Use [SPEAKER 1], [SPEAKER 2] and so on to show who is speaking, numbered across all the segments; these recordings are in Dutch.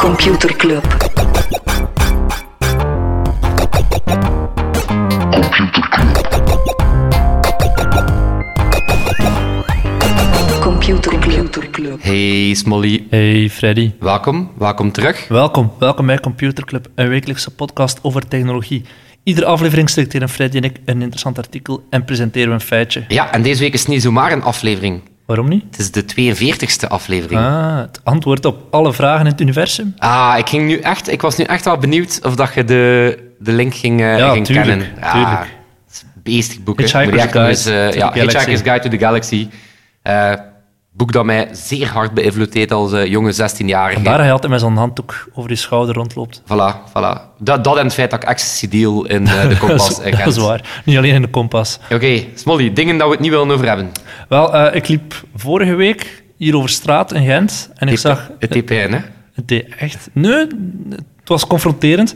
[SPEAKER 1] Computer Club. Computer Club. Computer Club.
[SPEAKER 2] Hey Smolly,
[SPEAKER 3] Hey Freddy.
[SPEAKER 2] welkom, welkom terug.
[SPEAKER 3] Welkom, welkom bij Computer Club, een wekelijkse podcast over technologie. Iedere aflevering selecteren Freddy en ik een interessant artikel en presenteren we een feitje.
[SPEAKER 2] Ja, en deze week is het niet zomaar een aflevering.
[SPEAKER 3] Waarom niet?
[SPEAKER 2] Het is de 42e aflevering. Ah.
[SPEAKER 3] Ah, het antwoord op alle vragen in het universum.
[SPEAKER 2] ik, ging nu echt, ik was nu echt wel benieuwd of dat je de, de link ging, eh,
[SPEAKER 3] Ja,
[SPEAKER 2] ging
[SPEAKER 3] tuurlijk,
[SPEAKER 2] kennen.
[SPEAKER 3] tuurlijk.
[SPEAKER 2] het is een beestig boek. hè.
[SPEAKER 3] Hitchhiker's
[SPEAKER 2] Moet je echt nog
[SPEAKER 3] Guide
[SPEAKER 2] eens, eh,
[SPEAKER 3] to the
[SPEAKER 2] ja,
[SPEAKER 3] Galaxy.
[SPEAKER 2] Hitchhiker's Guide to the Galaxy. Eh, boek dat mij zeer hard beïnvloed heeft als eh, jonge 16-jarige.
[SPEAKER 3] Vandaar dat hij altijd met zo'n handdoek over je schouder rondloopt.
[SPEAKER 2] Voilà, voilà. Dat, dat en het feit dat ik ecstasy deal in eh, de
[SPEAKER 3] Dat
[SPEAKER 2] kompas
[SPEAKER 3] is-
[SPEAKER 2] eh,
[SPEAKER 3] dat
[SPEAKER 2] kent.
[SPEAKER 3] is waar. Niet alleen in de kompas.
[SPEAKER 2] Oké, Smolly, dingen dat we het niet willen over hebben.
[SPEAKER 3] Wel, eh, ik liep vorige week hier over straat in Gent en ik zag...
[SPEAKER 2] Het TPN, hè?
[SPEAKER 3] Het deed echt... Nee, het was confronterend.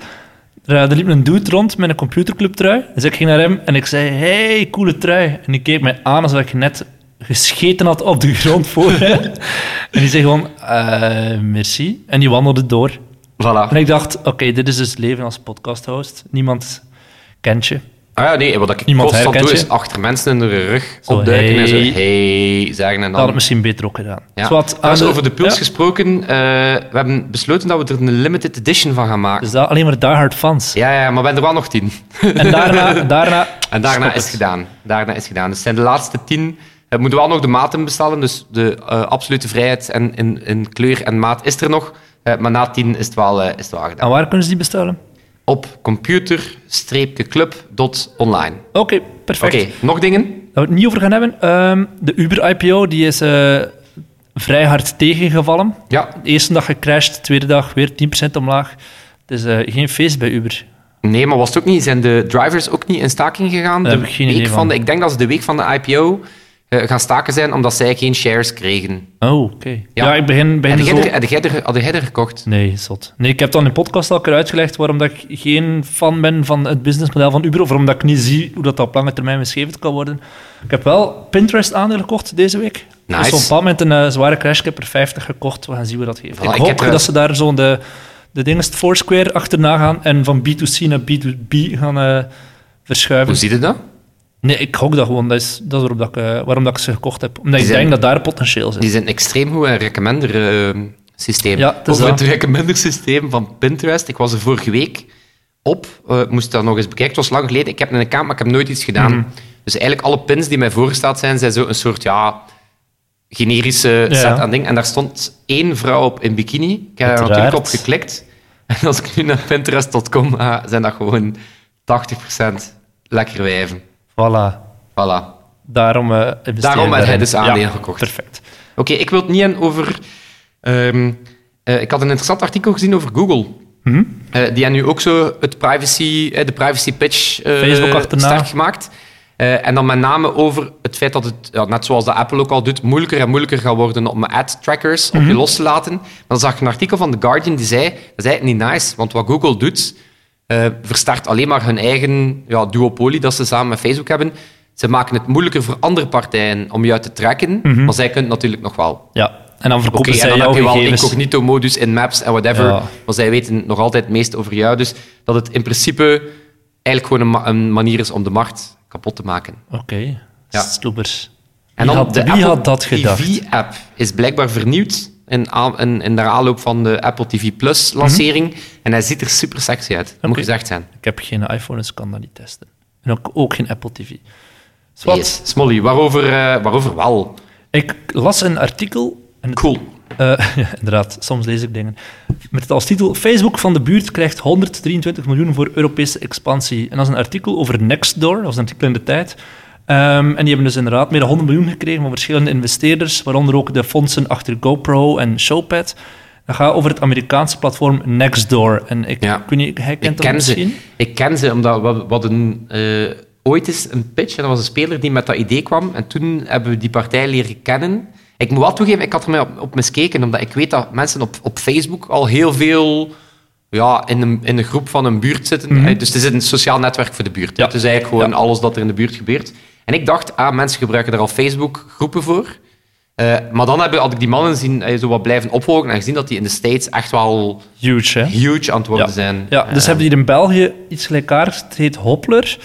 [SPEAKER 3] Er, eh, er liep een dude rond met een computerclubtrui. Dus ik ging naar hem en ik zei, hey, coole trui. En die keek mij aan alsof ik net gescheten had op de grond voor hem. en die zei gewoon, "Eh, merci. En die wandelde door.
[SPEAKER 2] Voilà.
[SPEAKER 3] En ik dacht, oké, dit is dus het leven als podcasthost. Niemand kent je.
[SPEAKER 2] Ah ja, nee, wat ik
[SPEAKER 3] Iemand
[SPEAKER 2] constant
[SPEAKER 3] herkent
[SPEAKER 2] doe is
[SPEAKER 3] je?
[SPEAKER 2] achter mensen in de rug
[SPEAKER 3] Zo,
[SPEAKER 2] opduiken en zo
[SPEAKER 3] hey. Nou,
[SPEAKER 2] hey zeggen en
[SPEAKER 3] Dat had ik
[SPEAKER 2] dan...
[SPEAKER 3] misschien beter ook gedaan.
[SPEAKER 2] Ja.
[SPEAKER 3] Zwat, aan
[SPEAKER 2] Trouwens,
[SPEAKER 3] de-
[SPEAKER 2] over de puls
[SPEAKER 3] Ja.
[SPEAKER 2] gesproken, eh, we hebben besloten dat we er een limited edition van gaan maken.
[SPEAKER 3] Dus dat alleen maar diehard fans.
[SPEAKER 2] Ja, ja, maar we hebben er wel nog tien.
[SPEAKER 3] En daarna... daarna
[SPEAKER 2] En daarna is
[SPEAKER 3] Stop
[SPEAKER 2] het
[SPEAKER 3] het.
[SPEAKER 2] gedaan. Daarna is het gedaan. Dus het zijn de laatste tien. We moeten wel nog de maten bestellen, dus de eh, absolute vrijheid en, in, in kleur en maat is er nog. Eh, maar na tien is het wel, eh, is het wel gedaan.
[SPEAKER 3] En waar kunnen ze die bestellen? Oh.
[SPEAKER 2] Op computer-club.online.
[SPEAKER 3] Oké,
[SPEAKER 2] Oké,
[SPEAKER 3] perfect.
[SPEAKER 2] nog dingen?
[SPEAKER 3] Daar we het niet over gaan hebben. Ehm, de Uber-IPO die is eh, vrij hard tegengevallen.
[SPEAKER 2] Ja,
[SPEAKER 3] De eerste dag gecrashed, de tweede dag weer 10% omlaag. Het is eh, geen feest bij Uber.
[SPEAKER 2] Nee, maar was het ook niet? Zijn de drivers ook niet in staking gegaan?
[SPEAKER 3] Daar
[SPEAKER 2] De
[SPEAKER 3] heb ik geen
[SPEAKER 2] week
[SPEAKER 3] idee
[SPEAKER 2] van.
[SPEAKER 3] van.
[SPEAKER 2] de, ik denk dat ze de week van de IPO eh, gaan staken zijn omdat zij geen shares kregen.
[SPEAKER 3] Oh, oké. Ja. ik begin,
[SPEAKER 2] Had
[SPEAKER 3] begin dus
[SPEAKER 2] jij
[SPEAKER 3] zo...
[SPEAKER 2] er- had jij er- had jij er gekocht?
[SPEAKER 3] Nee, zot. Nee, ik heb het al in de podcast al keer uitgelegd waarom dat ik geen fan ben van het businessmodel van Uber. Of waarom dat ik niet zie hoe dat op lange termijn beschreven kan worden. Ik heb wel Pinterest-aandelen gekocht deze week.
[SPEAKER 2] Nice.
[SPEAKER 3] Er is op een bepaald moment een eh, zware crash. Ik heb er 50 gekocht. We gaan zien hoe dat geeft.
[SPEAKER 2] Voilà,
[SPEAKER 3] ik
[SPEAKER 2] ik
[SPEAKER 3] hoop
[SPEAKER 2] heb, eh,
[SPEAKER 3] dat ze daar zo'n de, de dingen Foursquare achterna gaan en van B2C naar B2B gaan eh, verschuiven.
[SPEAKER 2] Hoe ziet het dat?
[SPEAKER 3] Nee, ik gok dat gewoon. Dat is, dat is waarop dat ik, eh, waarom dat ik ze gekocht heb. Omdat
[SPEAKER 2] Die
[SPEAKER 3] ik
[SPEAKER 2] zijn-
[SPEAKER 3] denk dat daar potentieel zit.
[SPEAKER 2] Die zijn extreem goed in recommender eh, systeem.
[SPEAKER 3] Ja, het is
[SPEAKER 2] Over
[SPEAKER 3] dat.
[SPEAKER 2] het recommender systeem van Pinterest. Ik was er vorige week op, eh, moest dat nog eens bekijken. Het was lang geleden. Ik heb een account, maar ik heb nooit iets gedaan.
[SPEAKER 3] Mhm.
[SPEAKER 2] Dus eigenlijk alle pins die mij voorgesteld zijn, zijn zo een soort ja, generische
[SPEAKER 3] Ja,
[SPEAKER 2] set
[SPEAKER 3] ja.
[SPEAKER 2] aan dingen. En daar stond één vrouw op in bikini. Ik heb daar
[SPEAKER 3] Uiteraard.
[SPEAKER 2] natuurlijk op geklikt. En als ik nu naar Pinterest.com ga, zijn dat gewoon 80% lekker wijven.
[SPEAKER 3] Voilà.
[SPEAKER 2] Voilà.
[SPEAKER 3] Daarom, eh investeren
[SPEAKER 2] Daarom heb
[SPEAKER 3] daarin.
[SPEAKER 2] jij dus aandelen
[SPEAKER 3] Ja,
[SPEAKER 2] gekocht.
[SPEAKER 3] Perfect.
[SPEAKER 2] Oké, ik wil het niet hebben over. ehm, eh, ik had een interessant artikel gezien over Google.
[SPEAKER 3] Mhm.
[SPEAKER 2] Eh, die hebben nu ook zo het privacy, eh, de privacy pitch eh,
[SPEAKER 3] Facebook achterna.
[SPEAKER 2] sterk gemaakt. Eh, en dan met name over het feit dat het, ja, net zoals de Apple ook al doet, moeilijker en moeilijker gaat worden om ad-trackers op
[SPEAKER 3] Mhm.
[SPEAKER 2] je los te laten. Maar dan zag ik een artikel van The Guardian die zei, dat is eigenlijk niet nice, want wat Google doet, eh versterkt alleen maar hun eigen ja, duopolie dat ze samen met Facebook hebben. Ze maken het moeilijker voor andere partijen om jou te tracken,
[SPEAKER 3] Mhm.
[SPEAKER 2] maar zij kunnen het natuurlijk nog wel.
[SPEAKER 3] Ja, en dan
[SPEAKER 2] Oké,
[SPEAKER 3] verkopen
[SPEAKER 2] en
[SPEAKER 3] zij
[SPEAKER 2] dan
[SPEAKER 3] jouw
[SPEAKER 2] heb je wel
[SPEAKER 3] gegevens.
[SPEAKER 2] incognito-modus in maps en whatever.
[SPEAKER 3] Ja.
[SPEAKER 2] Maar zij weten nog altijd het meest over jou. Dus dat het in principe eigenlijk gewoon een, ma- een manier is om de markt kapot te maken.
[SPEAKER 3] Oké,
[SPEAKER 2] Ja.
[SPEAKER 3] sloebers.
[SPEAKER 2] En
[SPEAKER 3] Wie had- wie had dat gedacht?
[SPEAKER 2] TV-app is blijkbaar vernieuwd in, a- in, in de aanloop van de Apple TV Plus-lancering. En hij ziet er super sexy uit. Dat moet
[SPEAKER 3] Mhm. Oké.
[SPEAKER 2] gezegd zijn.
[SPEAKER 3] Ik heb geen iPhone, dus ik kan dat niet testen. En ook, ook geen Apple TV. Zwat,
[SPEAKER 2] Yes. Smolly, waarover, eh, waarover wel?
[SPEAKER 3] ik las een artikel... En het-
[SPEAKER 2] Cool.
[SPEAKER 3] eh, ja, inderdaad, soms lees ik dingen. Met het als titel... Facebook van de buurt krijgt 123 miljoen voor Europese expansie. En dat is een artikel over Nextdoor. Dat was een artikel in de tijd. Ehm, en die hebben dus inderdaad meer dan 100 miljoen gekregen van verschillende investeerders, waaronder ook de fondsen achter GoPro en Showpad. Dat gaat over het Amerikaanse platform Nextdoor. En ik,
[SPEAKER 2] Ja.
[SPEAKER 3] ik weet niet, jij kent
[SPEAKER 2] Ik
[SPEAKER 3] dat
[SPEAKER 2] ken
[SPEAKER 3] misschien?
[SPEAKER 2] ze. Ik ken ze omdat we, we hadden eh, ooit eens een pitch en dat was een speler die met dat idee kwam. En toen hebben we die partij leren kennen. Ik moet wel toegeven, ik had er mij op, op miskeken, omdat ik weet dat mensen op, op Facebook al heel veel ja, in, een, in een groep van een buurt zitten. Eh, Dus het is een sociaal netwerk voor de buurt. hè.
[SPEAKER 3] Mhm. Ja.
[SPEAKER 2] Het is eigenlijk gewoon alles dat er in de buurt gebeurt. En ik dacht, ah, mensen gebruiken daar al Facebook-groepen voor. Eh, maar dan heb, ik- had ik die mannen zien, eh, zo wat blijven opvolgen en gezien dat die in de States echt wel
[SPEAKER 3] Huge, hè?
[SPEAKER 2] huge aan het worden
[SPEAKER 3] ja.
[SPEAKER 2] zijn.
[SPEAKER 3] Ja, dus
[SPEAKER 2] Eh,
[SPEAKER 3] hebben we hier in België iets gelijkaardigs. Het heet Hoppler.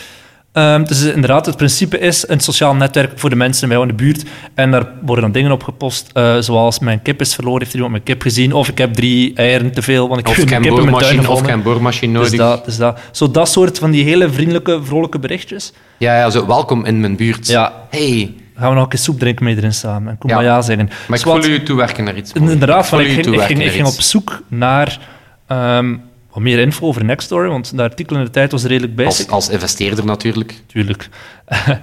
[SPEAKER 3] Ehm, dus inderdaad, het principe is een sociaal netwerk voor de mensen bij jou in de buurt. En daar worden dan dingen op gepost, eh, zoals mijn kip is verloren, heeft iemand mijn kip gezien? Of ik heb drie eieren te veel, want ik
[SPEAKER 2] Of
[SPEAKER 3] heb
[SPEAKER 2] ik
[SPEAKER 3] mijn
[SPEAKER 2] heb
[SPEAKER 3] kip
[SPEAKER 2] een
[SPEAKER 3] in mijn tuin
[SPEAKER 2] boormachine, of ik
[SPEAKER 3] gevonden.
[SPEAKER 2] heb een boormachine
[SPEAKER 3] Dus
[SPEAKER 2] nodig.
[SPEAKER 3] dat, dus dat. Zo dat soort van die hele vriendelijke, vrolijke berichtjes.
[SPEAKER 2] Ja, ja, zo, welkom in mijn buurt.
[SPEAKER 3] Ja.
[SPEAKER 2] Hey,
[SPEAKER 3] Gaan we nog een keer soep drinken mee erin samen. En kom
[SPEAKER 2] Ja.
[SPEAKER 3] maar ja zeggen.
[SPEAKER 2] maar ik
[SPEAKER 3] Zwat-
[SPEAKER 2] voel u toewerken naar iets.
[SPEAKER 3] Dus In- Inderdaad, van,
[SPEAKER 2] voel
[SPEAKER 3] ik,
[SPEAKER 2] u
[SPEAKER 3] ging, ik,
[SPEAKER 2] toewerken
[SPEAKER 3] ging, ik
[SPEAKER 2] naar
[SPEAKER 3] ging op
[SPEAKER 2] iets.
[SPEAKER 3] zoek naar ehm, wat meer info over Nextdoor, want de artikel in de tijd was redelijk
[SPEAKER 2] Als,
[SPEAKER 3] basic.
[SPEAKER 2] als investeerder natuurlijk.
[SPEAKER 3] Tuurlijk.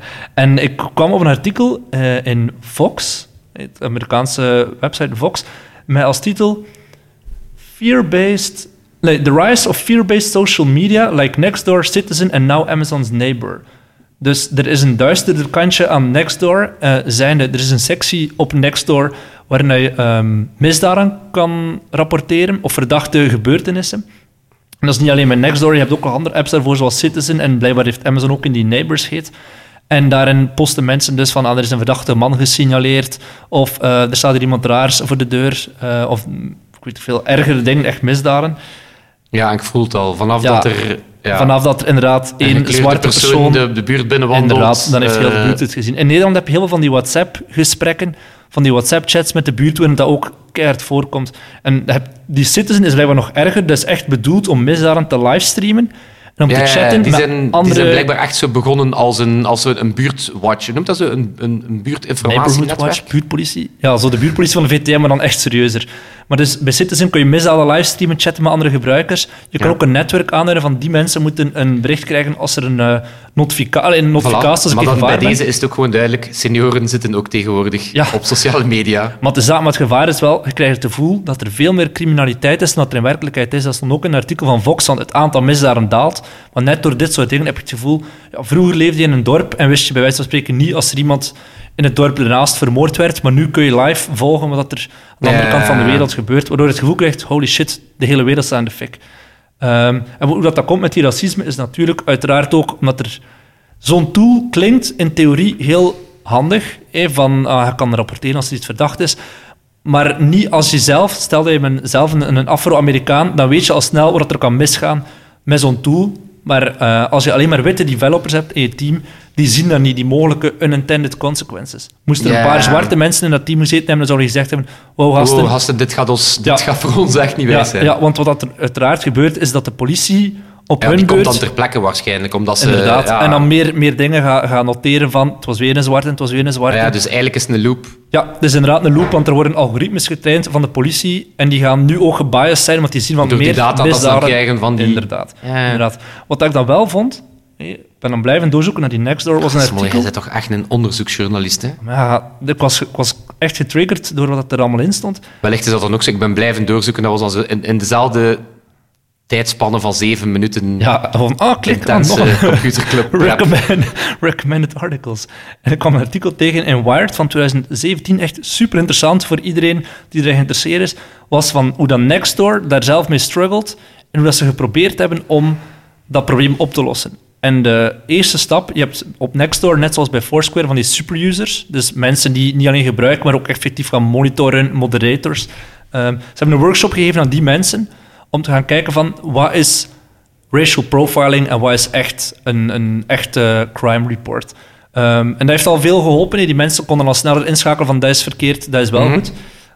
[SPEAKER 3] en ik kwam op een artikel eh, in Vox, het Amerikaanse website Vox, met als titel Fear-based... Nee, The Rise of Fear-based Social Media like Nextdoor, Citizen and Now Amazon's Neighbor. Dus er is een duisterder kantje aan Nextdoor. eh zijnde, er is een sectie op Nextdoor waarin je ehm, misdaden kan rapporteren of verdachte gebeurtenissen. En dat is niet alleen met Nextdoor, je hebt ook nog andere apps daarvoor, zoals Citizen. En blijkbaar heeft Amazon ook in die Neighbors heet. En daarin posten mensen dus van, ah, er is een verdachte man gesignaleerd. Of eh, er staat hier iemand raars voor de deur. eh, of mm, ik weet niet veel ergere dingen, echt misdaden.
[SPEAKER 2] Ja, en ik voel het al. Vanaf
[SPEAKER 3] Ja.
[SPEAKER 2] dat er... Ja,
[SPEAKER 3] Vanaf dat er inderdaad
[SPEAKER 2] een
[SPEAKER 3] één
[SPEAKER 2] gekleurde
[SPEAKER 3] zwarte persoon...
[SPEAKER 2] de, de buurt binnenwandelt.
[SPEAKER 3] Inderdaad, dan heeft heel de
[SPEAKER 2] eh,
[SPEAKER 3] buurt het gezien. In Nederland heb je heel veel van die WhatsApp-gesprekken, van die WhatsApp-chats met de buurt, waarin dat ook keihard voorkomt. En heb, die Citizen is blijkbaar nog erger, dat is echt bedoeld om misdaden te livestreamen en om
[SPEAKER 2] Ja,
[SPEAKER 3] te
[SPEAKER 2] ja,
[SPEAKER 3] chatten
[SPEAKER 2] die,
[SPEAKER 3] met
[SPEAKER 2] zijn,
[SPEAKER 3] andere...
[SPEAKER 2] die zijn blijkbaar echt zo begonnen als een, als een, een buurtwatch. Je noemt dat zo een, een, een
[SPEAKER 3] Neighborhood
[SPEAKER 2] buurtinformatienetwerk?
[SPEAKER 3] Watch, buurtpolitie. Ja, zo de buurtpolitie van de VTM, maar dan echt serieuzer. Maar dus bij Citizen kun je misdaden livestreamen, chatten met andere gebruikers. Je kan
[SPEAKER 2] Ja.
[SPEAKER 3] ook een netwerk aanduiden van die mensen moeten een bericht krijgen als er een eh, notifica- allee, een
[SPEAKER 2] Voilà.
[SPEAKER 3] notificatie is. als ik
[SPEAKER 2] Maar
[SPEAKER 3] in
[SPEAKER 2] dat, bij
[SPEAKER 3] gevaar ben.
[SPEAKER 2] deze is het ook gewoon duidelijk. Senioren zitten ook tegenwoordig
[SPEAKER 3] Ja.
[SPEAKER 2] op sociale media.
[SPEAKER 3] Maar de zaak met gevaar is wel, je krijgt het gevoel dat er veel meer criminaliteit is dan dat er in werkelijkheid is. Dat stond ook in een artikel van Vox, want het aantal misdaden daalt. Maar net door dit soort dingen heb je het gevoel... Ja, vroeger leefde je in een dorp en wist je bij wijze van spreken niet als er iemand in het dorp ernaast vermoord werd. Maar nu kun je live volgen wat er aan de andere
[SPEAKER 2] Ja.
[SPEAKER 3] kant van de wereld gebeurt. Waardoor je het gevoel krijgt, holy shit, de hele wereld staat in de fik. Ehm, en hoe dat, dat komt met die racisme is natuurlijk uiteraard ook omdat er... Zo'n tool klinkt in theorie heel handig. hè, van, ah, je kan rapporteren als er iets verdacht is. Maar niet als je zelf, stel dat je bent zelf een, een Afro-Amerikaan, dan weet je al snel wat er kan misgaan met zo'n tool. Maar eh, als je alleen maar witte developers hebt in je team, die zien dan niet die mogelijke unintended consequences. Moesten er
[SPEAKER 2] Ja.
[SPEAKER 3] een paar zwarte mensen in dat team gezeten hebben, dan zouden die gezegd hebben, wow gasten,
[SPEAKER 2] Oh, gasten, dit gaat, ons, dit
[SPEAKER 3] Ja.
[SPEAKER 2] gaat voor ons echt niet wijs
[SPEAKER 3] ja,
[SPEAKER 2] zijn.
[SPEAKER 3] ja, want wat er uiteraard gebeurt, is dat de politie op
[SPEAKER 2] Ja,
[SPEAKER 3] hun
[SPEAKER 2] die komt
[SPEAKER 3] beurt...
[SPEAKER 2] dan ter plekke waarschijnlijk, omdat ze...
[SPEAKER 3] Inderdaad.
[SPEAKER 2] ja.
[SPEAKER 3] En dan meer, meer dingen gaan gaan noteren van het was weer een zwarte, het was weer een zwarte.
[SPEAKER 2] Ja,
[SPEAKER 3] Ja,
[SPEAKER 2] dus eigenlijk is het een loop.
[SPEAKER 3] het is inderdaad een loop, want er worden algoritmes getraind van de politie en die gaan nu ook gebiased zijn, want die zien van
[SPEAKER 2] Door die
[SPEAKER 3] meer
[SPEAKER 2] data dat ze dan
[SPEAKER 3] misdaden.
[SPEAKER 2] krijgen van die-
[SPEAKER 3] Inderdaad.
[SPEAKER 2] Ja.
[SPEAKER 3] inderdaad. Wat ik dan wel vond, eh, ik ben dan blijven doorzoeken naar die Nextdoor, was een
[SPEAKER 2] Smolle, jij
[SPEAKER 3] artikel...
[SPEAKER 2] bent toch echt een onderzoeksjournalist, hè?
[SPEAKER 3] Maar Ja, ik was, ik was echt getriggerd door wat er allemaal in stond.
[SPEAKER 2] Wellicht is dat dan ook zo. Ik ben blijven doorzoeken. Dat was dan zo in, in dezelfde tijdspanne van zeven minuten
[SPEAKER 3] Ja, van, ah, klik aan nog
[SPEAKER 2] intense eh.
[SPEAKER 3] een-
[SPEAKER 2] computerclub. prep.
[SPEAKER 3] Recommend, recommended articles. En ik kwam een artikel tegen in Wired van 2017, echt super interessant voor iedereen die er geïnteresseerd is, was van hoe dat Nextdoor daar zelf mee struggelt en hoe dat ze geprobeerd hebben om dat probleem op te lossen. En de eerste stap, je hebt op Nextdoor, net zoals bij Foursquare, van die superusers, dus mensen die niet alleen gebruiken, maar ook effectief gaan monitoren, moderators. Ehm, ze hebben een workshop gegeven aan die mensen om te gaan kijken van wat is racial profiling en wat is echt een, een echte crime report. Ehm, en dat heeft al veel geholpen. hè. Die mensen konden al sneller inschakelen van dat is verkeerd, dat is wel goed.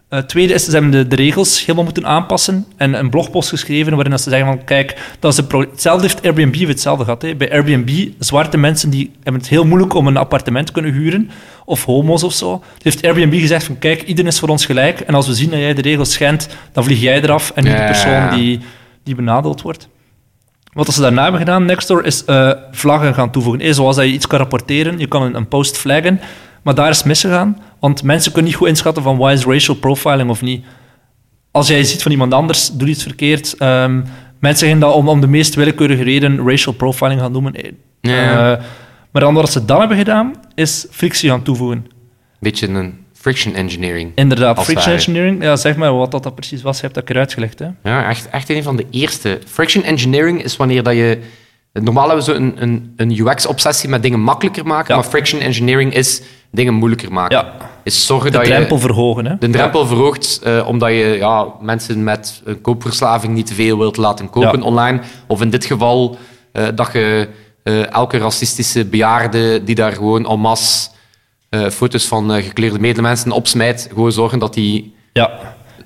[SPEAKER 3] Eh, tweede is, ze hebben de, de regels helemaal moeten aanpassen en een blogpost geschreven waarin dat ze zeggen van kijk, dat is een pro- hetzelfde heeft Airbnb weer hetzelfde gehad. Hè. Bij Airbnb, zwarte mensen die hebben het heel moeilijk om een appartement te kunnen huren of homo's of zo. Dus heeft Airbnb gezegd van kijk, iedereen is voor ons gelijk en als we zien dat jij de regels schendt, dan vlieg jij eraf en niet
[SPEAKER 2] Ja,
[SPEAKER 3] de
[SPEAKER 2] ja,
[SPEAKER 3] persoon
[SPEAKER 2] ja.
[SPEAKER 3] die, die benadeeld wordt. Wat ze daarna hebben gedaan, Nextdoor, is eh, vlaggen gaan toevoegen. Eh, zoals dat je iets kan rapporteren, je kan een, een post flaggen. Maar daar is misgegaan, want mensen kunnen niet goed inschatten van wat is racial profiling of niet. Als jij ziet van iemand anders, doet iets verkeerd. ehm, mensen gaan dat om, om de meest willekeurige reden racial profiling gaan noemen. Eh,
[SPEAKER 2] Ja.
[SPEAKER 3] eh, maar dan wat ze dan hebben gedaan, is frictie gaan toevoegen.
[SPEAKER 2] Beetje een friction engineering.
[SPEAKER 3] Inderdaad,
[SPEAKER 2] Als
[SPEAKER 3] friction
[SPEAKER 2] ware.
[SPEAKER 3] engineering. Ja, zeg maar wat dat, dat
[SPEAKER 2] Ah,
[SPEAKER 3] precies was, je hebt dat keer uitgelegd. Hè?
[SPEAKER 2] Ja, echt, echt een van de eerste. Friction engineering is wanneer dat je Normaal hebben ze een, een, een UX-obsessie met dingen makkelijker maken,
[SPEAKER 3] Ja.
[SPEAKER 2] maar friction engineering is dingen moeilijker maken.
[SPEAKER 3] Ja.
[SPEAKER 2] Is zorgen
[SPEAKER 3] De
[SPEAKER 2] dat
[SPEAKER 3] drempel
[SPEAKER 2] je
[SPEAKER 3] verhogen. Hè?
[SPEAKER 2] de drempel verhoogt, eh, omdat je ja, mensen met een koopverslaving niet te veel wilt laten kopen
[SPEAKER 3] Ja.
[SPEAKER 2] online. Of in dit geval eh, dat je eh, elke racistische bejaarde die daar gewoon en masse eh, foto's van eh, gekleurde medemensen opsmijt, gewoon zorgen dat die
[SPEAKER 3] Ja.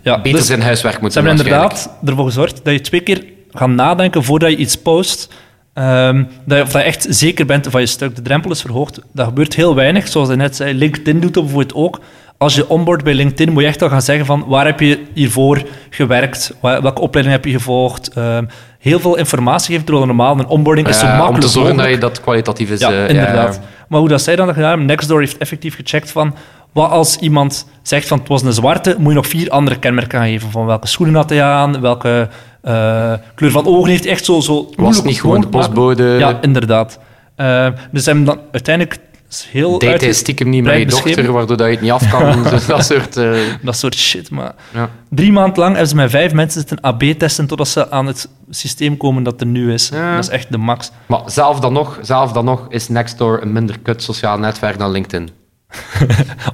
[SPEAKER 3] Ja.
[SPEAKER 2] beter
[SPEAKER 3] Dus-
[SPEAKER 2] zijn huiswerk moet
[SPEAKER 3] Ze
[SPEAKER 2] doen.
[SPEAKER 3] hebben
[SPEAKER 2] waarschijnlijk.
[SPEAKER 3] inderdaad ervoor gezorgd dat je twee keer gaat nadenken voordat je iets post. Ehm, dat je, of dat je echt zeker bent van je stuk. De drempel is verhoogd. Dat gebeurt heel weinig. Zoals je net zei, LinkedIn doet dat bijvoorbeeld ook. Als je onboard bij LinkedIn, moet je echt al gaan zeggen van waar heb je hiervoor gewerkt? Wa- Welke opleiding heb je gevolgd? Ehm, heel veel informatie geven, terwijl normaal een onboarding is zo
[SPEAKER 2] Eh,
[SPEAKER 3] makkelijk
[SPEAKER 2] om te zorgen dat
[SPEAKER 3] mogelijk.
[SPEAKER 2] je dat kwalitatief is.
[SPEAKER 3] Ja,
[SPEAKER 2] eh,
[SPEAKER 3] inderdaad.
[SPEAKER 2] ja.
[SPEAKER 3] Maar hoe dat zij dan dat gedaan hebben, Nextdoor heeft effectief gecheckt van wat als iemand zegt van het was een zwarte, moet je nog vier andere kenmerken gaan geven. Van welke schoenen had hij aan, welke eh, kleur van ogen heeft hij echt zo... zo
[SPEAKER 2] Was
[SPEAKER 3] moeilijk
[SPEAKER 2] het niet gewoon de
[SPEAKER 3] mogelijk maken.
[SPEAKER 2] postbode?
[SPEAKER 3] Ja, inderdaad. Eh, dus ze hebben dan uiteindelijk is heel
[SPEAKER 2] Deed hij
[SPEAKER 3] uitge-
[SPEAKER 2] stiekem niet met je
[SPEAKER 3] breed
[SPEAKER 2] dochter,
[SPEAKER 3] beschreven.
[SPEAKER 2] waardoor dat je het niet af kan. Dus dat soort... eh,
[SPEAKER 3] Dat soort shit, maar...
[SPEAKER 2] ja.
[SPEAKER 3] Drie maanden lang hebben ze met vijf mensen zitten AB-testen totdat ze aan het systeem komen dat er nu is.
[SPEAKER 2] Ja.
[SPEAKER 3] Dat is echt de max.
[SPEAKER 2] Maar zelf dan, nog, zelf dan nog is Nextdoor een minder kut sociaal netwerk dan LinkedIn.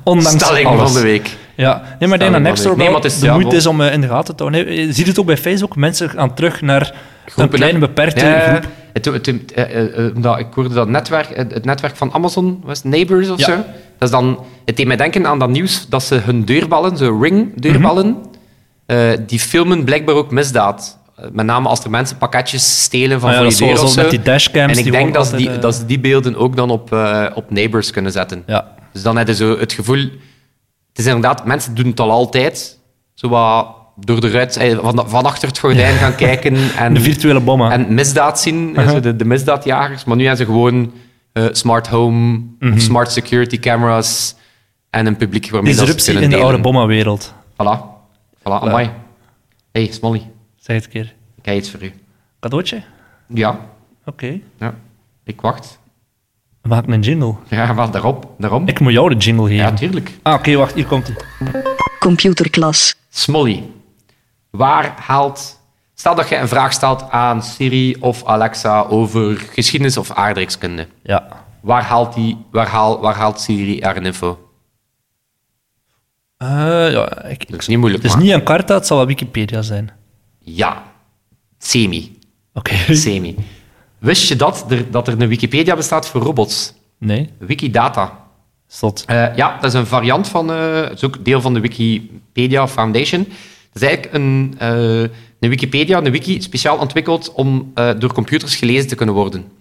[SPEAKER 3] Ondanks
[SPEAKER 2] Stelling
[SPEAKER 3] alles.
[SPEAKER 2] van de week.
[SPEAKER 3] Ja, nee, maar ik denk dat
[SPEAKER 2] Stelling
[SPEAKER 3] Nextdoor
[SPEAKER 2] van de- Nee,
[SPEAKER 3] wel
[SPEAKER 2] maar het is-
[SPEAKER 3] de
[SPEAKER 2] ja,
[SPEAKER 3] moeite
[SPEAKER 2] wel.
[SPEAKER 3] is om eh, in de gaten te houden. Nee, Je ziet het ook bij Facebook. Mensen gaan terug naar een
[SPEAKER 2] Groepen,
[SPEAKER 3] kleine,
[SPEAKER 2] hè?
[SPEAKER 3] beperkte
[SPEAKER 2] Ja, ja, ja.
[SPEAKER 3] groep.
[SPEAKER 2] Het- het- het- eh, eh, eh, omdat Ik hoorde dat netwerk, eh, het het netwerk van Amazon, was het Neighbors of
[SPEAKER 3] Ja.
[SPEAKER 2] zo. Dat is dan, het deed mij denken aan dat nieuws dat ze hun deurbellen, zo ringdeurbellen,
[SPEAKER 3] Mhm.
[SPEAKER 2] eh, die filmen blijkbaar ook misdaad. Eh, Met name als er mensen pakketjes stelen van
[SPEAKER 3] Ah ja,
[SPEAKER 2] voor
[SPEAKER 3] dat
[SPEAKER 2] je
[SPEAKER 3] is
[SPEAKER 2] deur
[SPEAKER 3] zoals
[SPEAKER 2] of zo.
[SPEAKER 3] al met die dashcams.
[SPEAKER 2] En ik
[SPEAKER 3] die
[SPEAKER 2] denk
[SPEAKER 3] gewoon
[SPEAKER 2] dat ze, die,
[SPEAKER 3] altijd, eh,
[SPEAKER 2] dat ze die beelden ook dan op, eh, op neighbors kunnen zetten.
[SPEAKER 3] Ja,
[SPEAKER 2] Dus dan heb je zo het gevoel... Het is inderdaad, mensen doen het al altijd. Zo wat door de ruit, eh, van, van achter het gordijn gaan kijken. En,
[SPEAKER 3] de virtuele Uh-huh. bommen.
[SPEAKER 2] en misdaad zien, eh, zo de, de misdaadjagers. Maar nu hebben ze gewoon eh, smart home,
[SPEAKER 3] Mhm.
[SPEAKER 2] of smart security cameras en een publiek waarmee dat ze het
[SPEAKER 3] Disruptie
[SPEAKER 2] kunnen
[SPEAKER 3] in de
[SPEAKER 2] delen.
[SPEAKER 3] oude bommenwereld.
[SPEAKER 2] Voilà. Voilà, amai. hey, Smolly,
[SPEAKER 3] Zeg het een keer.
[SPEAKER 2] ik heb iets voor u.
[SPEAKER 3] Cadeautje?
[SPEAKER 2] Ja,
[SPEAKER 3] Oké.
[SPEAKER 2] ja. ik wacht.
[SPEAKER 3] Maak een jingle.
[SPEAKER 2] Ja, wel, daarop, daarom.
[SPEAKER 3] Ik moet jou de jingle geven.
[SPEAKER 2] Ja, tuurlijk.
[SPEAKER 3] ah, oké, wacht. Hier komt hij.
[SPEAKER 1] Computer Class.
[SPEAKER 2] Smolly, waar haalt. Stel dat je een vraag stelt aan Siri of Alexa over geschiedenis of aardrijkskunde.
[SPEAKER 3] Ja.
[SPEAKER 2] Waar haalt, die, waar haal, waar haalt Siri haar info?
[SPEAKER 3] Eh, ja ik, ik-
[SPEAKER 2] Dat is niet moeilijk,
[SPEAKER 3] het is
[SPEAKER 2] maar-
[SPEAKER 3] niet Encarta, het zal wel Wikipedia zijn.
[SPEAKER 2] Ja, semi.
[SPEAKER 3] Oké.
[SPEAKER 2] semi. Wist je dat er, dat er een Wikipedia bestaat voor robots?
[SPEAKER 3] Nee,
[SPEAKER 2] Wikidata.
[SPEAKER 3] stot.
[SPEAKER 2] Eh, ja, dat is een variant van. eh het is ook deel van de Wikipedia Foundation. Dat is eigenlijk een, eh, een Wikipedia, een wiki, speciaal ontwikkeld om eh, door computers gelezen te kunnen worden.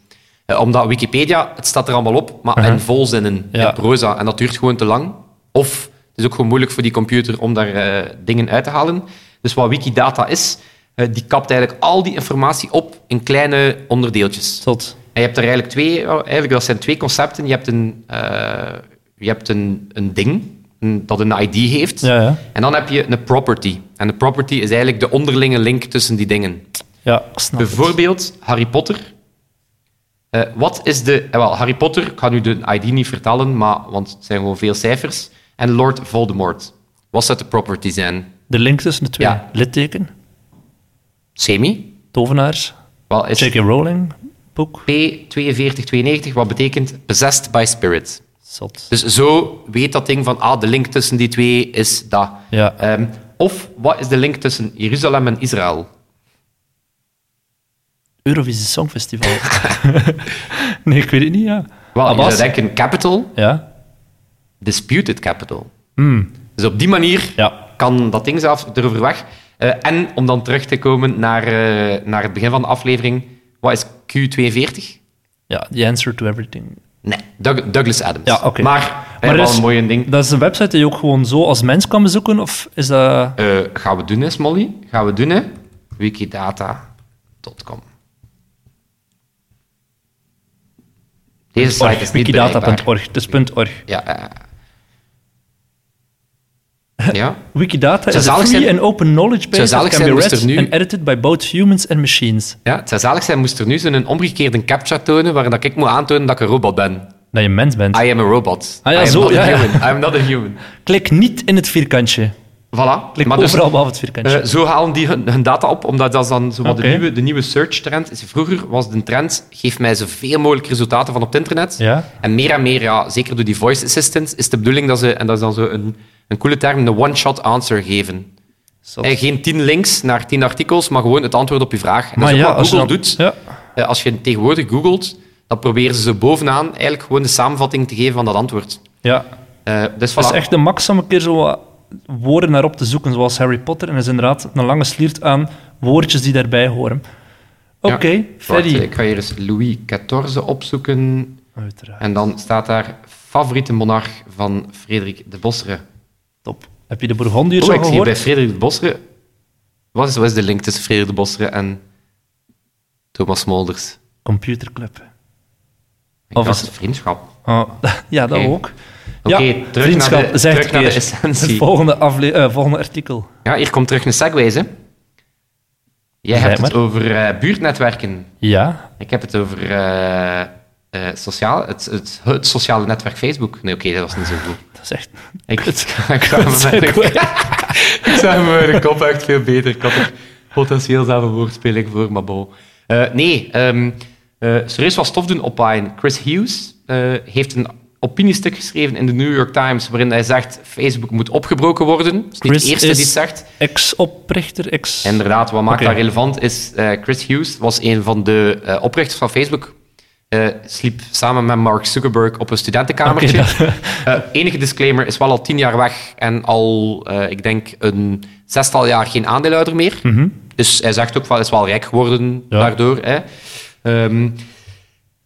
[SPEAKER 2] Eh, omdat Wikipedia, het staat er allemaal op, maar in volzinnen,
[SPEAKER 3] Ja.
[SPEAKER 2] in proza. En dat duurt gewoon te lang. Of het is ook gewoon moeilijk voor die computer om daar eh, dingen uit te halen. Dus wat Wikidata is, eh, die kapt eigenlijk al die informatie op in kleine onderdeeltjes.
[SPEAKER 3] Stot.
[SPEAKER 2] En je hebt er eigenlijk twee, oh, eigenlijk dat zijn twee concepten. Je hebt een, eh, je hebt een, een ding een- dat een ID heeft.
[SPEAKER 3] Ja, ja.
[SPEAKER 2] En dan heb je een property. En de property is eigenlijk de onderlinge link tussen die
[SPEAKER 3] Ah,
[SPEAKER 2] dingen.
[SPEAKER 3] Ja, ik snap het.
[SPEAKER 2] Bijvoorbeeld Harry Potter. Eh, wat is de... eh, wel, Harry Potter, ik ga nu de ID niet vertellen, maar, want het zijn gewoon veel cijfers. En Lord Voldemort. Wat zou de property zijn?
[SPEAKER 3] De link tussen de twee.
[SPEAKER 2] Ja.
[SPEAKER 3] Litteken,
[SPEAKER 2] Semi?
[SPEAKER 3] tovenaars,
[SPEAKER 2] Wel, is
[SPEAKER 3] J.K. Rowling, boek.
[SPEAKER 2] P4292, wat betekent possessed by spirit.
[SPEAKER 3] Zot.
[SPEAKER 2] Dus zo weet dat ding van, ah, de link tussen die twee is dat.
[SPEAKER 3] Ja.
[SPEAKER 2] Ehm, of, wat is de link tussen Jeruzalem en Israël?
[SPEAKER 3] Eurovisie Songfestival. nee, ik weet het niet, ja.
[SPEAKER 2] Wel, je
[SPEAKER 3] Abbas?
[SPEAKER 2] zou denken capital,
[SPEAKER 3] Ja.
[SPEAKER 2] disputed capital. Dus op die manier
[SPEAKER 3] Hmm. Ja.
[SPEAKER 2] kan dat ding zelf erover weg. Eh, en om dan terug te komen naar, eh, naar het begin van de aflevering, wat is Q42?
[SPEAKER 3] Ja, the answer to everything.
[SPEAKER 2] Nee, Doug- Douglas Adams.
[SPEAKER 3] Ja, oké.
[SPEAKER 2] Maar, maar
[SPEAKER 3] er
[SPEAKER 2] wel
[SPEAKER 3] is-
[SPEAKER 2] een mooi ding.
[SPEAKER 3] Dat is een website die je ook gewoon zo als mens kan bezoeken, of is dat...
[SPEAKER 2] Eh, gaan we doen, hè, Smolly? Gaan we doen, hè? Wikidata.com. Deze site
[SPEAKER 3] Org,
[SPEAKER 2] is niet bereikbaar.
[SPEAKER 3] Wikidata.org, het is .org.
[SPEAKER 2] Ja. eh. ja.
[SPEAKER 3] Wikidata
[SPEAKER 2] Zou
[SPEAKER 3] is a
[SPEAKER 2] zalig
[SPEAKER 3] free
[SPEAKER 2] zijn-
[SPEAKER 3] and open knowledge
[SPEAKER 2] Zou
[SPEAKER 3] base
[SPEAKER 2] zalig
[SPEAKER 3] that can
[SPEAKER 2] zijn
[SPEAKER 3] be
[SPEAKER 2] moest
[SPEAKER 3] read
[SPEAKER 2] er nu-
[SPEAKER 3] and edited by both humans and machines.
[SPEAKER 2] ja. Het zou zalig zijn moest er nu zo'n omgekeerde captcha tonen waarin dat ik moet aantonen dat ik een robot ben.
[SPEAKER 3] Dat je mens bent.
[SPEAKER 2] I am a robot.
[SPEAKER 3] Ah ja,
[SPEAKER 2] I am
[SPEAKER 3] zo,
[SPEAKER 2] not
[SPEAKER 3] ja,
[SPEAKER 2] a
[SPEAKER 3] ja.
[SPEAKER 2] human. I am not a human.
[SPEAKER 3] Klik niet in het vierkantje.
[SPEAKER 2] Voilà.
[SPEAKER 3] Klik
[SPEAKER 2] Maar dus,
[SPEAKER 3] overal behalve het vierkantje.
[SPEAKER 2] eh, zo halen die hun, hun data op, omdat dat is dan zo wat de
[SPEAKER 3] Oké.
[SPEAKER 2] nieuwe, de nieuwe search-trend. is. Vroeger was de trend, geef mij zoveel mogelijk resultaten van op het internet.
[SPEAKER 3] ja.
[SPEAKER 2] En meer en meer, ja, zeker door die voice assistants, is de bedoeling dat ze, en dat is dan zo een, een coole term, een one-shot answer geven.
[SPEAKER 3] Zot.
[SPEAKER 2] Eh, geen tien links naar tien artikels, maar gewoon het antwoord op je vraag. En dat is ook dus wat
[SPEAKER 3] als je
[SPEAKER 2] Google
[SPEAKER 3] dan-
[SPEAKER 2] doet.
[SPEAKER 3] Ja.
[SPEAKER 2] Eh, als je tegenwoordig googelt, dan proberen ze bovenaan eigenlijk gewoon de samenvatting te geven van dat antwoord.
[SPEAKER 3] ja.
[SPEAKER 2] Eh, dus
[SPEAKER 3] Dat is
[SPEAKER 2] voilà.
[SPEAKER 3] echt de max om een keer zo wat woorden naar op te zoeken, zoals Harry Potter. En dat is inderdaad een lange sliert aan woordjes die daarbij horen. Oké,
[SPEAKER 2] Wacht,
[SPEAKER 3] Freddy.
[SPEAKER 2] ik ga hier eens Louis XIV opzoeken.
[SPEAKER 3] Uiteraard.
[SPEAKER 2] En dan staat daar favoriete monarch van Frederik de Bossere.
[SPEAKER 3] Top. Heb je de Bourgondiërs
[SPEAKER 2] Oh,
[SPEAKER 3] al
[SPEAKER 2] ik zie
[SPEAKER 3] gehoord?
[SPEAKER 2] bij Frederik de Bossere... Wat is, wat is de link tussen Frederik de Bossere en Thomas Smolders?
[SPEAKER 3] Computerclub.
[SPEAKER 2] Ik
[SPEAKER 3] Of
[SPEAKER 2] dacht
[SPEAKER 3] is-
[SPEAKER 2] vriendschap.
[SPEAKER 3] Oh, ja, dat
[SPEAKER 2] Oké.
[SPEAKER 3] ook.
[SPEAKER 2] Oké,
[SPEAKER 3] ja,
[SPEAKER 2] terug naar de-
[SPEAKER 3] vriendschap, zeg
[SPEAKER 2] terug
[SPEAKER 3] het
[SPEAKER 2] naar de
[SPEAKER 3] weer.
[SPEAKER 2] essentie.
[SPEAKER 3] Het volgende, afle- eh, volgende artikel.
[SPEAKER 2] Ja, hier komt terug een segway, hè. Jij
[SPEAKER 3] Zeg
[SPEAKER 2] hebt het
[SPEAKER 3] maar.
[SPEAKER 2] over eh, buurtnetwerken.
[SPEAKER 3] Ja.
[SPEAKER 2] Ik heb het over eh, eh, sociaal, het, het, het sociale netwerk Facebook. Nee, oké, dat was niet zo goed.
[SPEAKER 3] Dat is echt...
[SPEAKER 2] Ik,
[SPEAKER 3] Kut.
[SPEAKER 2] ik zag
[SPEAKER 3] Kut,
[SPEAKER 2] me met
[SPEAKER 3] segway.
[SPEAKER 2] de, ik zag me met de kop echt veel beter. Ik had er potentieel zelf een woordspeling voor, maar bon. Eh, nee, ehm eh serieus wat stof doen online. Chris Hughes eh, heeft een opiniestuk geschreven in de New York Times waarin hij zegt Facebook moet opgebroken worden. Dat is niet
[SPEAKER 3] Chris
[SPEAKER 2] de eerste die
[SPEAKER 3] is-
[SPEAKER 2] het zegt.
[SPEAKER 3] Ex-oprichter, ex...
[SPEAKER 2] Inderdaad, wat maakt
[SPEAKER 3] Oké.
[SPEAKER 2] dat relevant is, eh, Chris Hughes was een van de eh, oprichters van Facebook. Eh, sliep samen met Mark Zuckerberg op een studentenkamertje.
[SPEAKER 3] Oké, dat-
[SPEAKER 2] Eh, enige disclaimer is wel al tien jaar weg en al, eh, ik denk, een zestal jaar geen aandeelhouder meer. Dus hij zegt ook wel, is wel rijk geworden
[SPEAKER 3] Ja.
[SPEAKER 2] daardoor. Hè. Ehm,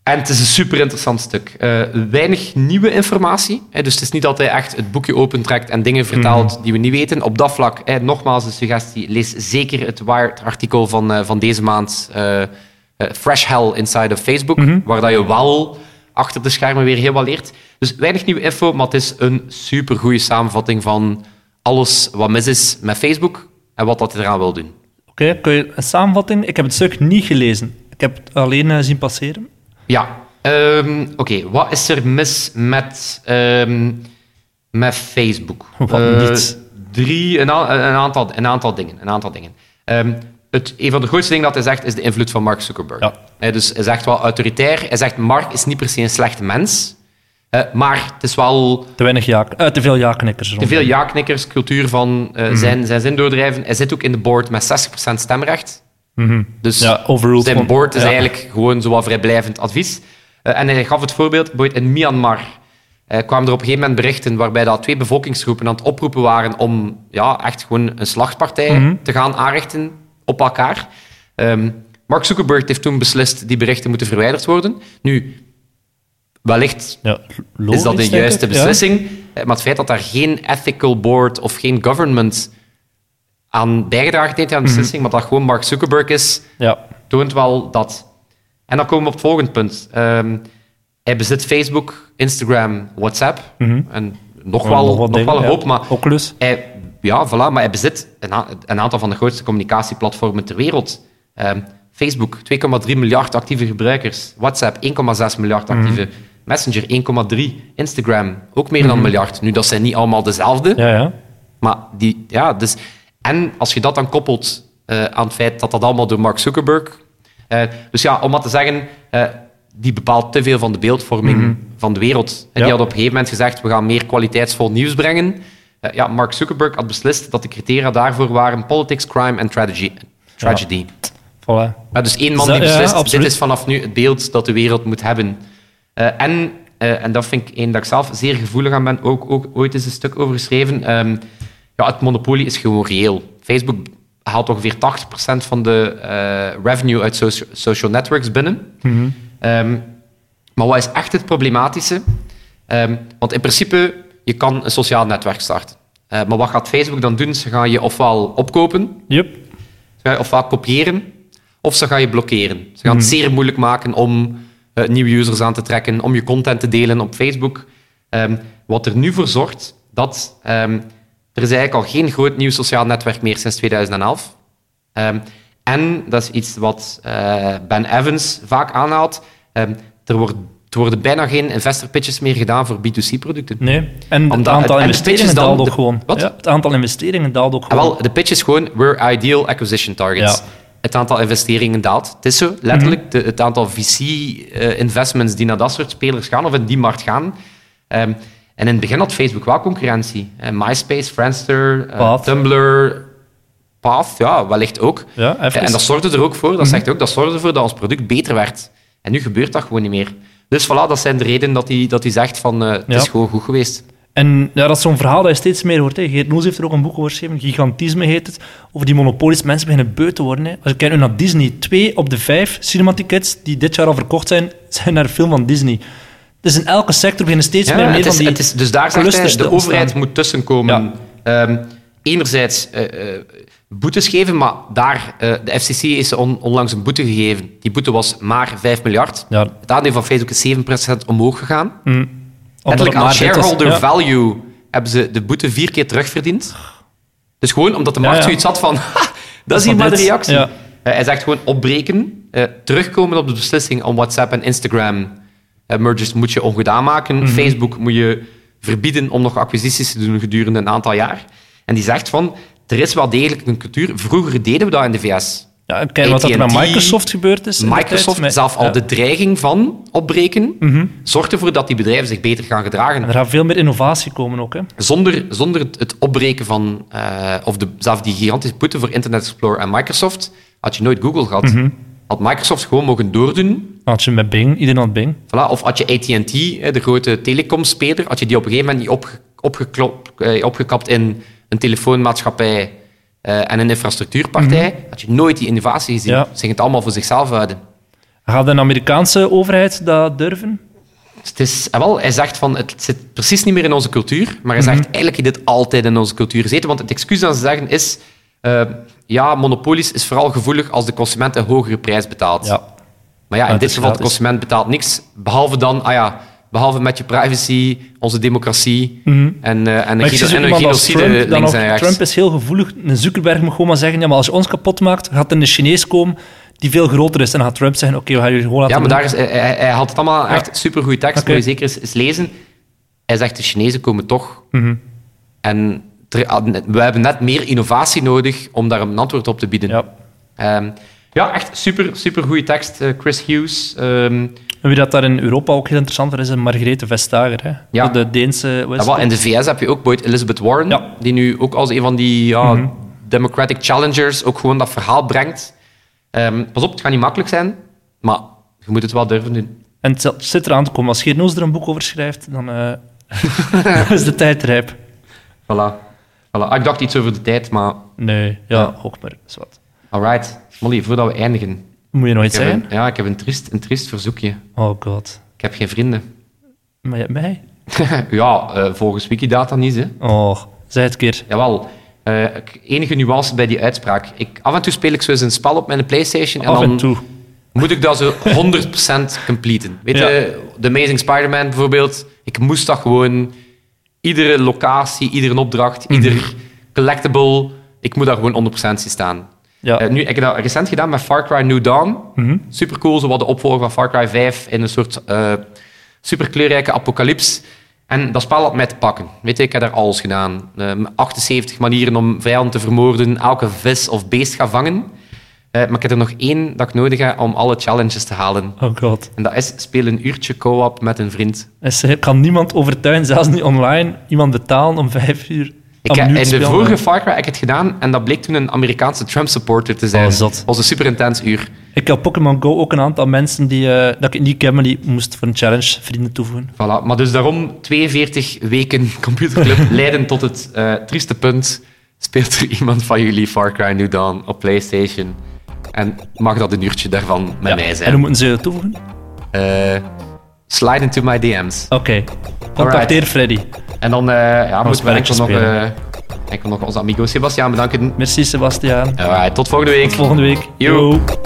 [SPEAKER 2] en het is een super interessant stuk. Eh, weinig nieuwe informatie. Hè, dus het is niet dat hij echt het boekje opentrekt en dingen vertaalt die we niet weten. Op dat vlak, hè, nogmaals een suggestie, lees zeker het Wired-artikel van, eh, van deze maand. eh, eh, Fresh Hell Inside of Facebook. Waar dat je wel achter de schermen weer heel wat leert. Dus weinig nieuwe info, maar het is een super goede samenvatting van alles wat mis is met Facebook en wat dat hij eraan wil doen.
[SPEAKER 3] Oké, kun je een samenvatting? Ik heb het stuk niet gelezen. Ik heb het alleen eh, zien passeren.
[SPEAKER 2] Ja, ehm, oké. Wat is er mis met, ehm, met Facebook?
[SPEAKER 3] Wat
[SPEAKER 2] Eh,
[SPEAKER 3] niet?
[SPEAKER 2] Drie, een, a- een, aantal, een aantal dingen. Een aantal dingen. Ehm, het, een van de grootste dingen dat hij zegt is de invloed van Mark Zuckerberg.
[SPEAKER 3] Ja.
[SPEAKER 2] Hè, dus hij zegt wel autoritair. Hij zegt Mark is niet per se een slecht mens, eh, maar het is wel
[SPEAKER 3] Te weinig ja... eh, te veel ja-knikkers.
[SPEAKER 2] te
[SPEAKER 3] rond.
[SPEAKER 2] veel ja-knikkers, cultuur van eh, zijn, zijn zin doordrijven. Hij zit ook in de board met 60% stemrecht. Dus
[SPEAKER 3] Ja, overruled
[SPEAKER 2] zijn
[SPEAKER 3] van-
[SPEAKER 2] board is
[SPEAKER 3] ja.
[SPEAKER 2] eigenlijk gewoon zowat vrijblijvend advies. Eh, en hij gaf het voorbeeld, bijvoorbeeld in Myanmar eh, kwamen er op een gegeven moment berichten waarbij dat twee bevolkingsgroepen aan het oproepen waren om ja, echt gewoon een slachtpartij te gaan aanrichten op elkaar. Ehm, Mark Zuckerberg heeft toen beslist die berichten moeten verwijderd worden. Nu, wellicht
[SPEAKER 3] Ja, logisch,
[SPEAKER 2] is dat de
[SPEAKER 3] denk ik.
[SPEAKER 2] juiste
[SPEAKER 3] Ja.
[SPEAKER 2] beslissing? Eh, Maar het feit dat daar geen ethical board of geen government aan bijgedragen heeft aan de beslissing,
[SPEAKER 3] Mhm.
[SPEAKER 2] maar dat gewoon Mark Zuckerberg is,
[SPEAKER 3] Ja.
[SPEAKER 2] toont wel dat. En dan komen we op het volgende punt. Ehm, hij bezit Facebook, Instagram, WhatsApp en nog wel, nog
[SPEAKER 3] wat
[SPEAKER 2] wel
[SPEAKER 3] dingen,
[SPEAKER 2] een
[SPEAKER 3] Mhm. ja.
[SPEAKER 2] hoop, maar
[SPEAKER 3] Oculus.
[SPEAKER 2] hij, ja, voilà, maar hij bezit een, a- een aantal van de grootste communicatieplatformen ter wereld. Ehm, Facebook, 2,3 miljard actieve gebruikers. WhatsApp, 1,6 miljard actieve.
[SPEAKER 3] Mhm.
[SPEAKER 2] Messenger, 1,3. Instagram, ook meer dan een miljard. Nu, dat zijn niet allemaal dezelfde.
[SPEAKER 3] Ja, ja.
[SPEAKER 2] Maar die, ja, dus... En als je dat dan koppelt eh, aan het feit dat dat allemaal door Mark Zuckerberg... eh, dus ja, om maar te zeggen, eh, die bepaalt te veel van de beeldvorming van de wereld. En
[SPEAKER 3] Ja.
[SPEAKER 2] die had op een gegeven moment gezegd, we gaan meer kwaliteitsvol nieuws brengen. Eh, ja, Mark Zuckerberg had beslist dat de criteria daarvoor waren politics, crime en tragedy. tragedy.
[SPEAKER 3] Voilà.
[SPEAKER 2] Ja, dus één man
[SPEAKER 3] Is dat-
[SPEAKER 2] die beslist,
[SPEAKER 3] ja, absoluut.
[SPEAKER 2] dit is vanaf nu het beeld dat de wereld moet hebben. Eh, en, eh, en dat vind ik één dat ik zelf zeer gevoelig aan ben, ook, ook ooit is een stuk over geschreven. ehm, ja, het monopolie is gewoon reëel. Facebook haalt ongeveer 80% van de eh, revenue uit socia- social networks binnen.
[SPEAKER 3] Mhm.
[SPEAKER 2] Ehm, maar wat is echt het problematische? Ehm, want in principe, je kan een sociaal netwerk starten. Eh, maar wat gaat Facebook dan doen? Ze gaan je ofwel opkopen,
[SPEAKER 3] Yep.
[SPEAKER 2] ze gaan je ofwel kopiëren, of ze gaan je blokkeren. Ze gaan het zeer moeilijk maken om eh, nieuwe users aan te trekken, om je content te delen op Facebook. Ehm, wat er nu voor zorgt dat ehm, er is eigenlijk al geen groot nieuw sociaal netwerk meer sinds 2011. Ehm, en dat is iets wat eh, Ben Evans vaak aanhaalt. ehm, er wordt Er worden bijna geen investor pitches meer gedaan voor B2C-producten.
[SPEAKER 3] Nee, en het
[SPEAKER 2] Omdat-
[SPEAKER 3] aantal
[SPEAKER 2] en de
[SPEAKER 3] investeringen
[SPEAKER 2] pitches dan-
[SPEAKER 3] daalt ook
[SPEAKER 2] de-
[SPEAKER 3] gewoon.
[SPEAKER 2] Wat?
[SPEAKER 3] Ja, het aantal investeringen daalt ook
[SPEAKER 2] Ah,
[SPEAKER 3] gewoon.
[SPEAKER 2] wel, de pitch is gewoon, we're ideal acquisition targets.
[SPEAKER 3] Ja. Mhm.
[SPEAKER 2] Het aantal investeringen daalt. Het is zo, letterlijk, de- het aantal VC-investments die naar dat soort spelers gaan, of in die markt gaan. Ehm, en in het begin had Facebook wel concurrentie. Eh, MySpace, Friendster, eh,
[SPEAKER 3] Path.
[SPEAKER 2] Tumblr, Path, ja, wellicht ook.
[SPEAKER 3] Ja, even. Mhm.
[SPEAKER 2] Eh, En dat zorgde er ook voor, dat zegt ook, dat zorgde ervoor dat ons product beter werd. En nu gebeurt dat gewoon niet meer. Dus voilà, dat zijn de redenen dat hij, dat hij zegt van, eh, het
[SPEAKER 3] Ja.
[SPEAKER 2] is gewoon goed geweest.
[SPEAKER 3] En ja, dat is zo'n verhaal dat je steeds meer hoort. Hè. Geert Noes heeft er ook een boek over geschreven, Gigantisme heet het, over die monopolies. Mensen beginnen beu te worden. Hè. Als je kijkt nu naar Disney, twee op de vijf cinematickets die dit jaar al verkocht zijn, zijn naar een film van Disney. Dus in elke sector beginnen steeds
[SPEAKER 2] Ja,
[SPEAKER 3] meer meer
[SPEAKER 2] het
[SPEAKER 3] van
[SPEAKER 2] is-
[SPEAKER 3] die
[SPEAKER 2] het is- dus daar zegt hij,
[SPEAKER 3] clusters te
[SPEAKER 2] de
[SPEAKER 3] ontstaan.
[SPEAKER 2] overheid moet tussenkomen. Ehm, enerzijds eh, eh, boetes geven, maar daar, eh, de FCC is on- onlangs een boete gegeven. Die boete was maar 5 miljard.
[SPEAKER 3] Ja.
[SPEAKER 2] Het aandeel van Facebook is 7% omhoog gegaan.
[SPEAKER 3] Mm. Omdat het
[SPEAKER 2] Letterlijk aan
[SPEAKER 3] maar dit was.
[SPEAKER 2] shareholder
[SPEAKER 3] Ja.
[SPEAKER 2] value hebben ze de boete vier keer terugverdiend. Dus gewoon omdat de markt
[SPEAKER 3] Ja, ja.
[SPEAKER 2] zoiets had van... "Ha, dat is
[SPEAKER 3] van
[SPEAKER 2] hier maar de
[SPEAKER 3] dit."
[SPEAKER 2] reactie.
[SPEAKER 3] Ja.
[SPEAKER 2] Eh, hij zegt gewoon opbreken, eh, terugkomen op de beslissing om WhatsApp en Instagram. Eh, mergers moet je ongedaan maken.
[SPEAKER 3] Mhm.
[SPEAKER 2] Facebook moet je verbieden om nog acquisities te doen gedurende een aantal jaar. En die zegt van, er is wel degelijk een cultuur. Vroeger deden we dat in de VS.
[SPEAKER 3] Ja, en kijk wat er met
[SPEAKER 2] AT&T,
[SPEAKER 3] Microsoft gebeurd is. in de tijd,
[SPEAKER 2] Microsoft
[SPEAKER 3] met-
[SPEAKER 2] zelf al
[SPEAKER 3] ja. Mhm.
[SPEAKER 2] de dreiging van opbreken zorgt ervoor dat die bedrijven zich beter gaan gedragen.
[SPEAKER 3] En er gaat veel meer innovatie komen ook. Hè.
[SPEAKER 2] zonder, zonder het, het opbreken van, eh, of de, zelf die gigantische boete voor Internet Explorer en Microsoft, had je nooit Google gehad. Had Microsoft gewoon mogen doordoen,
[SPEAKER 3] Had je met Bing, iedereen had Bing.
[SPEAKER 2] voilà, of had je AT&T, eh, de grote telecomspeler, had je die op een gegeven moment niet opge, opgeklopt, eh, opgekapt in een telefoonmaatschappij eh, en een infrastructuurpartij, had je nooit die innovatie gezien.
[SPEAKER 3] Ja.
[SPEAKER 2] Ze gingen het allemaal voor zichzelf houden.
[SPEAKER 3] Gaat de Amerikaanse overheid dat durven?
[SPEAKER 2] Dus het is, eh, wel, hij zegt van het zit precies niet meer in onze cultuur, maar hij zegt
[SPEAKER 3] Mhm.
[SPEAKER 2] eigenlijk heeft dit altijd in onze cultuur gezeten. Want het excuus dat ze zeggen is: eh, ja, monopolies is vooral gevoelig als de consument een hogere prijs betaalt. Maar ja, in
[SPEAKER 3] Maar het
[SPEAKER 2] dit
[SPEAKER 3] is
[SPEAKER 2] geval, de
[SPEAKER 3] gratis.
[SPEAKER 2] consument betaalt niks, behalve dan, ah ja, behalve met je privacy, onze democratie en, eh en, een,
[SPEAKER 3] Mhm. Maar ik zie
[SPEAKER 2] geno-
[SPEAKER 3] zo
[SPEAKER 2] en een
[SPEAKER 3] iemand als
[SPEAKER 2] genocide
[SPEAKER 3] Trump, dan
[SPEAKER 2] links
[SPEAKER 3] nog,
[SPEAKER 2] en rechts.
[SPEAKER 3] Trump is heel gevoelig. Een Zuckerberg moet gewoon maar zeggen, ja, maar als je ons kapot maakt, gaat er een Chinees komen die veel groter is. En dan gaat Trump zeggen, oké, we gaan jullie gewoon laten
[SPEAKER 2] Ja, maar
[SPEAKER 3] doen.
[SPEAKER 2] daar is, hij, hij- hij haalt het allemaal echt supergoeie tekst.
[SPEAKER 3] Oké.
[SPEAKER 2] Moet je zeker eens, eens lezen. Hij zegt, de Chinezen komen toch.
[SPEAKER 3] Mhm.
[SPEAKER 2] En ter- ah, net- we hebben net meer innovatie nodig om daar een antwoord op te bieden.
[SPEAKER 3] Ja.
[SPEAKER 2] Ehm, ja, echt super, super goede tekst. eh, Chris Hughes. ehm,
[SPEAKER 3] En wie dat daar in Europa ook heel interessant voor is, is Margarethe Vestager. Hè?
[SPEAKER 2] Ja.
[SPEAKER 3] De Deense... hoe is
[SPEAKER 2] ah, wel,
[SPEAKER 3] het?
[SPEAKER 2] in de VS heb je ook Boyd Elizabeth Warren,
[SPEAKER 3] Ja. Mhm.
[SPEAKER 2] die nu ook als een van die ja, Democratic Challengers ook gewoon dat verhaal brengt. Ehm, pas op, het gaat niet makkelijk zijn, maar je moet het wel durven doen.
[SPEAKER 3] En het zit- zit eraan te komen. Als Geert Noos er een boek over schrijft, dan eh, is de tijd rijp.
[SPEAKER 2] Voilà. voilà. Ah, ik dacht iets over de tijd, maar
[SPEAKER 3] Nee, ja,
[SPEAKER 2] Ja.
[SPEAKER 3] ook maar. is wat.
[SPEAKER 2] Alright, Molly, voordat we eindigen.
[SPEAKER 3] Moet je nooit
[SPEAKER 2] Ik heb
[SPEAKER 3] zijn?
[SPEAKER 2] een, ja, ik heb een triest, een triest verzoekje.
[SPEAKER 3] Oh god.
[SPEAKER 2] Ik heb geen vrienden.
[SPEAKER 3] Maar je hebt mij?
[SPEAKER 2] ja, eh, volgens Wikidata niet, hè.
[SPEAKER 3] Oh, zeg het keer.
[SPEAKER 2] Jawel. Eh, ik- enige nuance bij die uitspraak. Ik, af en toe speel ik zo eens een spel op mijn Playstation en
[SPEAKER 3] Af
[SPEAKER 2] dan
[SPEAKER 3] en toe.
[SPEAKER 2] moet ik dat zo 100% completen. Weet
[SPEAKER 3] Ja.
[SPEAKER 2] je, The Amazing Spider-Man bijvoorbeeld, ik moest dat gewoon... Iedere locatie, iedere opdracht, ieder collectible, ik moet daar gewoon 100% zien staan.
[SPEAKER 3] Ja.
[SPEAKER 2] Eh, nu, ik heb dat recent gedaan met Far Cry New Dawn. Super cool, zo wat de opvolger van Far Cry 5 in een soort eh super kleurrijke apocalyps. En dat spel had mij te pakken. Weet je, ik heb daar alles gedaan. Eh, 78 manieren om vijanden te vermoorden, elke vis of beest gaan vangen. Eh, maar ik heb er nog één dat ik nodig heb om alle challenges te halen.
[SPEAKER 3] Oh god.
[SPEAKER 2] En dat is speel een uurtje co-op met een vriend.
[SPEAKER 3] Dus je kan niemand overtuigen, zelfs niet online, iemand betalen om vijf uur.
[SPEAKER 2] Ik heb,
[SPEAKER 3] opnieuw te
[SPEAKER 2] in de
[SPEAKER 3] spelen.
[SPEAKER 2] vorige Far Cry heb ik het gedaan en dat bleek toen een Amerikaanse Trump-supporter te zijn.
[SPEAKER 3] Oh, zot.
[SPEAKER 2] was een super intens uur.
[SPEAKER 3] Ik heb Pokémon Go ook een aantal mensen die, eh, dat ik niet ken, maar die moest voor een challenge vrienden toevoegen.
[SPEAKER 2] Voilà, maar dus daarom 42 weken computerclub leiden tot het eh, trieste punt. Speelt er iemand van jullie Far Cry New Dawn op PlayStation? En mag dat een uurtje daarvan met
[SPEAKER 3] Ja.
[SPEAKER 2] mij
[SPEAKER 3] En
[SPEAKER 2] zijn?
[SPEAKER 3] hoe moeten ze dat toevoegen?
[SPEAKER 2] Eh, slide into my DM's.
[SPEAKER 3] Oké. Contacteer Freddy.
[SPEAKER 2] En dan eh ja, moeten we
[SPEAKER 3] spelletje
[SPEAKER 2] enkel nog, eh
[SPEAKER 3] spelen.
[SPEAKER 2] enkel nog onze amigo Sebastian bedanken.
[SPEAKER 3] Merci Sebastiaan.
[SPEAKER 2] Alright, tot volgende week.
[SPEAKER 3] Volgende week.
[SPEAKER 2] Yo.
[SPEAKER 3] Yo.